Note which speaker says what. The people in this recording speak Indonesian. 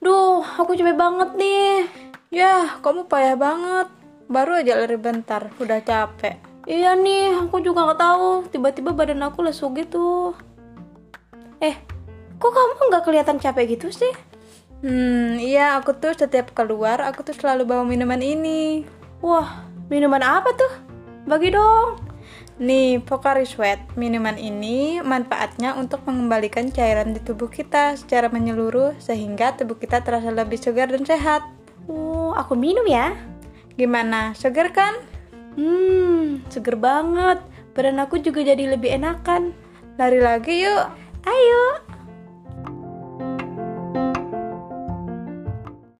Speaker 1: aku capek banget nih.
Speaker 2: Yah, Ya, kamu payah banget. Baru aja lari bentar, udah capek.
Speaker 1: Iya nih, aku juga nggak tahu. Tiba-tiba badan aku lesu gitu. Eh, kok kamu nggak kelihatan capek gitu sih?
Speaker 2: Hmm, iya aku tuh setiap keluar aku tuh selalu bawa minuman ini.
Speaker 1: Wah, minuman apa tuh? Bagi dong.
Speaker 2: Nih, Pocari Sweat. Minuman ini manfaatnya untuk mengembalikan cairan di tubuh kita secara menyeluruh sehingga tubuh kita terasa lebih segar dan sehat.
Speaker 1: Oh, aku minum ya.
Speaker 2: Gimana? Segar kan?
Speaker 1: Hmm, seger banget. Badan aku juga jadi lebih enakan.
Speaker 2: Lari lagi yuk.
Speaker 1: Ayo.